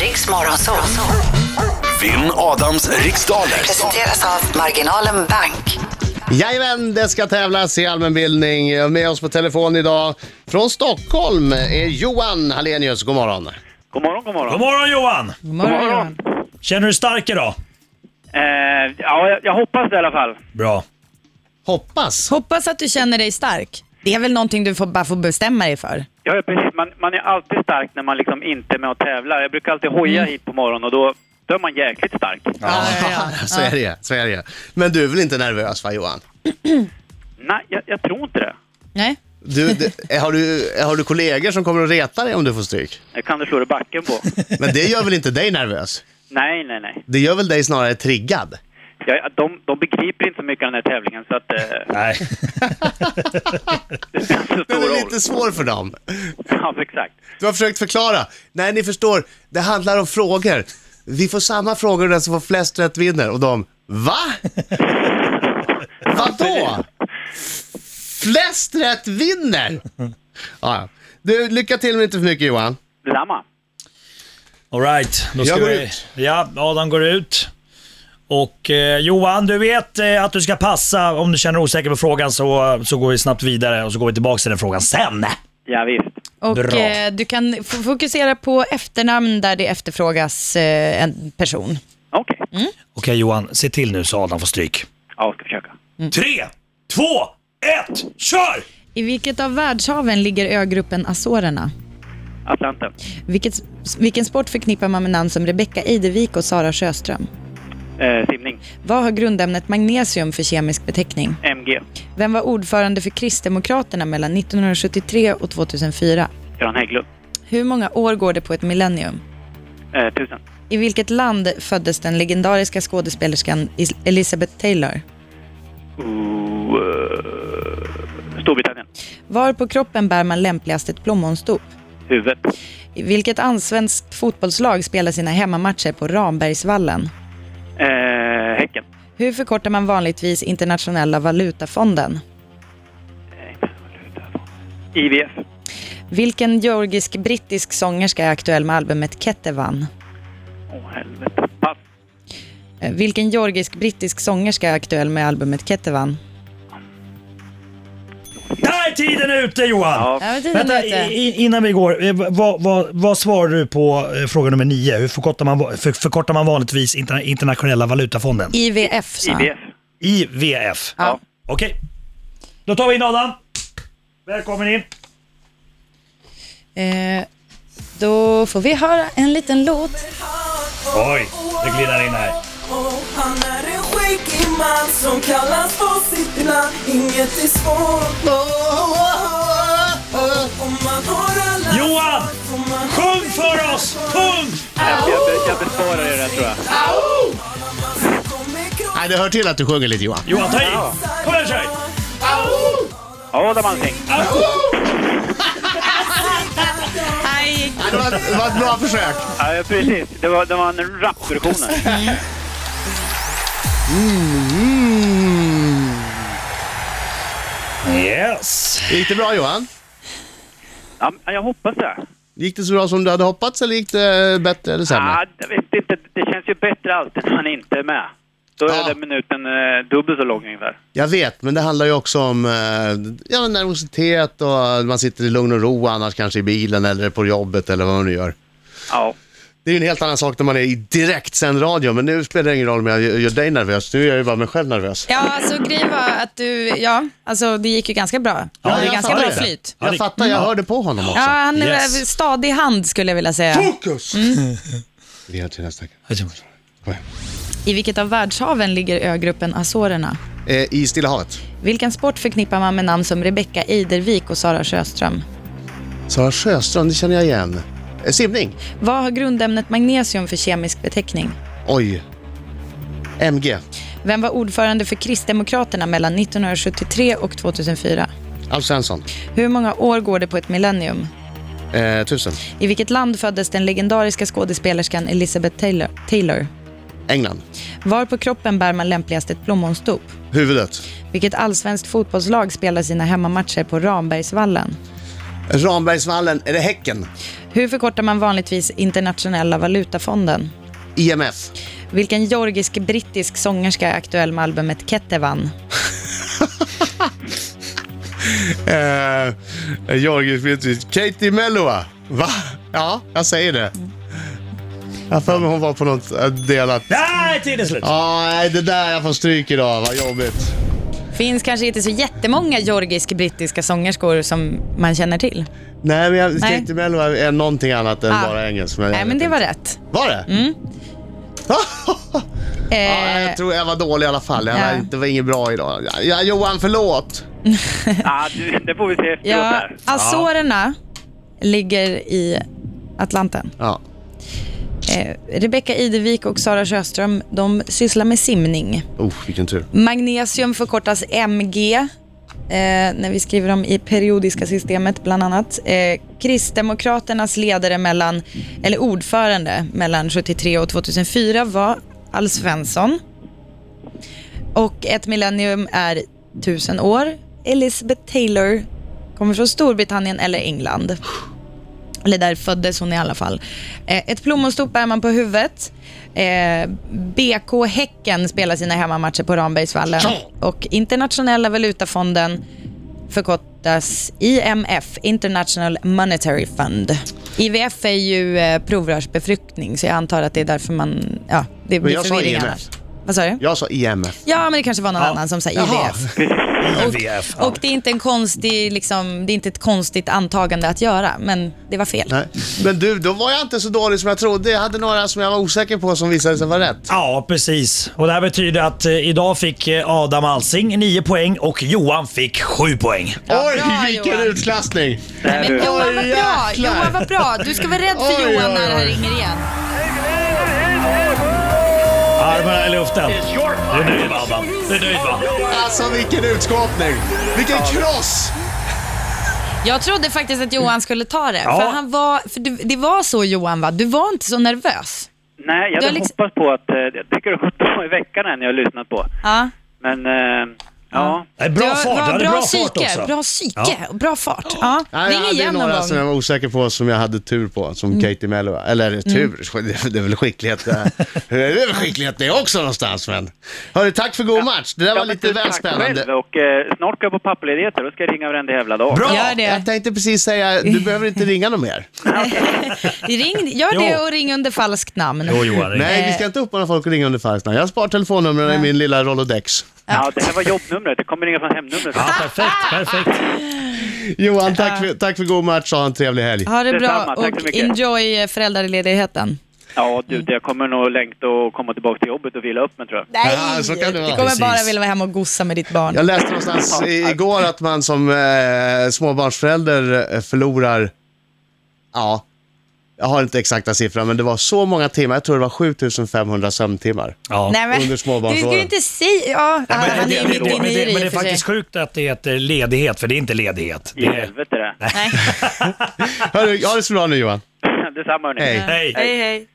Riks Morgonzoo. Vinn Adams riksdaler. Presenteras av Marginalen Bank. Jajamän, det ska tävlas i allmänbildning. Med oss på telefon idag från Stockholm är Johan Hallenius. God morgon. God morgon, god morgon. God morgon Johan! God morgon, God morgon. Johan. Känner du dig stark idag? Eh, ja, jag, jag hoppas det i alla fall. Bra. Hoppas. Hoppas att du känner dig stark. Det är väl någonting du får, bara får bestämma dig för. Ja, ja, precis. Man, man är alltid stark när man liksom inte är med och tävlar. Jag brukar alltid hoja hit på morgonen och då, då är man jäkligt stark. Ja, ja, ja. Så är det, så är det. Men du är väl inte nervös va Johan? Nej, jag, jag tror inte det. Nej. Du, det- har, du, har du kollegor som kommer att reta dig om du får stryk? Det kan du slå dig i backen på. Men det gör väl inte dig nervös? nej, nej, nej. Det gör väl dig snarare triggad? Jag, de, de begriper inte så mycket av den här tävlingen så att eh, Nej. det spelar inte så Det är stor väl roll. lite svår för dem? Ja, exakt. Du har försökt förklara. Nej, ni förstår. Det handlar om frågor. Vi får samma frågor och den som får flest rätt vinner. Och de, va? Vadå? Flest rätt vinner? Ja, ja. Du, lycka till men inte för mycket Johan. Detsamma. Alright, då ska Jag går vi... ut. Ja, Adam går ut. Och eh, Johan, du vet eh, att du ska passa. Om du känner dig osäker på frågan så, så går vi snabbt vidare och så går vi tillbaka till den frågan sen. Ja, visst. Och Bra. eh, du kan f- fokusera på efternamn där det efterfrågas eh, en person. Okej. Okej Johan, se till nu så Adam får stryk. Ja, jag ska försöka. Mm. Tre, två, ett, kör! I vilket av världshaven ligger ögruppen Azorerna? Atlanten. Vilket, vilken sport förknippar man med namn som Rebecca Eidevik och Sara Sjöström? Eh, simning. Vad har grundämnet magnesium för kemisk beteckning? MG. Vem var ordförande för Kristdemokraterna mellan 1973 och 2004? Göran Hägglund. Hur många år går det på ett millennium? Eh, tusen. I vilket land föddes den legendariska skådespelerskan Is- Elizabeth Taylor? Ooh, eh, Storbritannien. Var på kroppen bär man lämpligast ett plommonstop? Huvudet. I vilket allsvenskt fotbollslag spelar sina hemmamatcher på Rambergsvallen? Eh, häcken. Hur förkortar man vanligtvis Internationella valutafonden? Eh, IVF. Vilken georgisk-brittisk sångerska är aktuell med albumet Kettevan? Åh, helvete. Ah. Pass. Eh, Vilken georgisk-brittisk sångerska är aktuell med albumet Kettevan? Där är tiden ute Johan! Ja. Ja, men tiden Vänta, är ute. i- i- innan vi går. eh, Vad, vad, vad svarar du på eh, fråga nummer nio? Hur förkortar man, va- för, förkortar man vanligtvis interna, internationella valutafonden? IVF sa han. IVF. IVF. Ja. Okej. Då tar vi in Adam. Välkommen in. Eh, då får vi höra en liten låt. Oj, det glider in här. Han är en skäggig man som kallas på sitt namn Inget är svårt Oh, om man har alla Johan! om man Sjung för oss! Sjung! Jag, be- jag besparar er det tror jag. kommer Nej, det hör till att du sjunger lite Johan. Johan, ta i. Kom igen, kör! Adam Alsing. Aj, Nej, det, var ett, det var ett bra försök. Ja, precis. Det var, det var en rapversion. Yes. Gick det bra Johan? Ja, men jag hoppas det. Gick det så bra som du hade hoppats eller gick det eh, bättre eller sämre? Ja, jag vet inte. Det känns ju bättre alltid när man inte är med. Då är Ja. den minuten eh, dubbelt så lång ungefär. Jag vet, men det handlar ju också om eh, ja, nervositet och man sitter i lugn och ro annars kanske i bilen eller på jobbet eller vad man nu gör. Ja. Det är ju en helt annan sak när man är i direktsänd radio, men nu spelar det ingen roll om jag gör dig nervös. Nu är jag ju bara mig själv nervös. Ja, alltså grejen var att du, ja, alltså det gick ju ganska bra. Du hade jag ganska sa bra det. flyt. Jag det- fattar, jag hörde på honom Ja, också. han är Yes. väl stadig hand skulle jag vilja säga. Fokus! Vi hörs till nästa vecka. Kom igen. I vilket av världshaven ligger ögruppen Azorerna? Eh, I Stilla havet. Vilken sport förknippar man med namn som Rebecca Eidervik och Sara Sjöström? Sara Sjöström, det känner jag igen. Eh, simning. Vad har grundämnet magnesium för kemisk beteckning? Oj. MG. Vem var ordförande för Kristdemokraterna mellan 1973 och 2004? Alf Svensson. Hur många år går det på ett millennium? Eh, tusen. I vilket land föddes den legendariska skådespelerskan Elizabeth Taylor? Taylor? England. Var på kroppen bär man lämpligast ett plommonstop? Huvudet. Vilket allsvenskt fotbollslag spelar sina hemmamatcher på Rambergsvallen? Rambergsvallen, är det Häcken? Hur förkortar man vanligtvis Internationella valutafonden? IMF? Vilken georgisk-brittisk sångerska är aktuell med albumet Ketevan? Eh, Georgisk Beatrice. Katie Melua. Va? Ja, jag säger det. Jag har för mig hon var på något eh, delat. Nej, tiden är slut. Ja, nej, det där jag får stryk idag. Vad jobbigt. Finns kanske inte så jättemånga georgisk-brittiska sångerskor som man känner till. Nej, men jag, Nej. Katie Melua är någonting annat än Ah. bara engelsk. jag Nej, vet men det inte. var Mm. rätt. Var det? ja, Eh, jag tror jag var dålig i alla fall. Jag Ja. var, det var inget bra idag. Ja, Ja, Johan, förlåt. Ah, du, det får vi se efteråt ja, alltså, här. Azorerna ligger i Atlanten. Ja. Eh, Rebecka Idevik och Sara Sjöström de sysslar med simning. Oh, vilken tur. Magnesium förkortas MG eh, när vi skriver om i periodiska systemet bland annat. Eh, Kristdemokraternas ledare mellan, eller ordförande mellan 73 och 2004 var Alf Svensson. Och ett millennium är tusen år. Elizabeth Taylor kommer från Storbritannien eller England. Eller där föddes hon i alla fall. Eh, ett plommonstop bär man på huvudet. Eh, BK Häcken spelar sina hemmamatcher på Rambergsvallen. Och Internationella valutafonden förkortas IMF, International Monetary Fund. IVF är ju eh, provrörsbefruktning, så jag antar att det är därför man... Ja, det blir jag sa förvirring IMF. annars. Vad sa du? Jag sa E IMF. Ja, men det kanske var någon annan som sa Jaha. IVF. VF. Och det är inte en konstig, liksom, det är inte ett konstigt antagande att göra, men det var fel. Nej. Men du, då var jag inte så dålig som jag trodde. Jag hade några som jag var osäker på som visade sig vara rätt. Ja, precis. Och det här betyder att eh, idag fick eh, Adam Alsing 9 poäng och Johan fick 7 poäng. Ja, Oj, bra, vilken Johan. utklassning! Eh, Men Johan vad bra, jäklar. Johan vad bra. Du ska vara rädd för Oj, Johan oj, när oj. han ringer igen. Armarna i luften. Du är nöjd va, Adam? Du är nöjd va? Alltså vilken utskåpning! Vilken kross! Jag trodde faktiskt att Johan skulle ta det. Ja. För, han var, för du, det var så Johan va? Du var inte så nervös. Nej, jag Du hade har liksom- hoppats på att... eh, Jag tycker det har gått bra i veckan än jag har lyssnat på. Ja. Men, eh, ja. Nej, Du Bra har- fart, var du hade bra fart psyke, också. Bra psyke, bra fart. Ja. Nej, jag Ring hade igen någon några gång. Mm. som jag var osäker på som jag hade tur på, som Katie Melua. Eller tur, det är väl skicklighet det här. Det är väl skicklighet det också någonstans men. Hörru, tack för god match. Det där var men lite du, väl tack spännande. Själv och, eh, snart ska jag på pappaledighet och då ska jag ringa varenda jävla dag. Bra! Gör det. Jag tänkte precis säga, du behöver inte ringa någon mer. Ring, gör Jo. det och ring under falskt namn. Jo, Johan. ring. Nej, vi ska inte uppmana folk att ringa under falskt namn. Jag sparar telefonnumren i min lilla Rolodex. Ja, det här var jobbnumret. Det kommer ringa från hemnumret. Ja, perfekt, perfekt. Johan, tack för, tack för god match och ha en trevlig helg. Ha det bra Detsamma, tack så och mycket. enjoy föräldraledigheten. Ja, du, jag kommer nog längta och komma tillbaka till jobbet och vila upp mig tror jag. Nej, Ja, så kan det vara. du kommer bara Precis. vilja vara hemma och gossa med ditt barn. Jag läste någonstans i- igår att man som eh, småbarnsförälder eh, förlorar, ja, jag har inte exakta siffran, men det var så många timmar, jag tror det var 7500 sömntimmar. Ja. Nej, men, Under du småbarnsåren. skulle inte säga... Ja, han, Men han är det- ju det- mitt det- inne i men det, det men det i och är för sig. faktiskt sjukt att det heter ledighet, för det är inte ledighet. I Det är... helvete det. Hörru, ha det så bra nu Johan. Detsamma hörni. Hej. Hej! Hej, hej.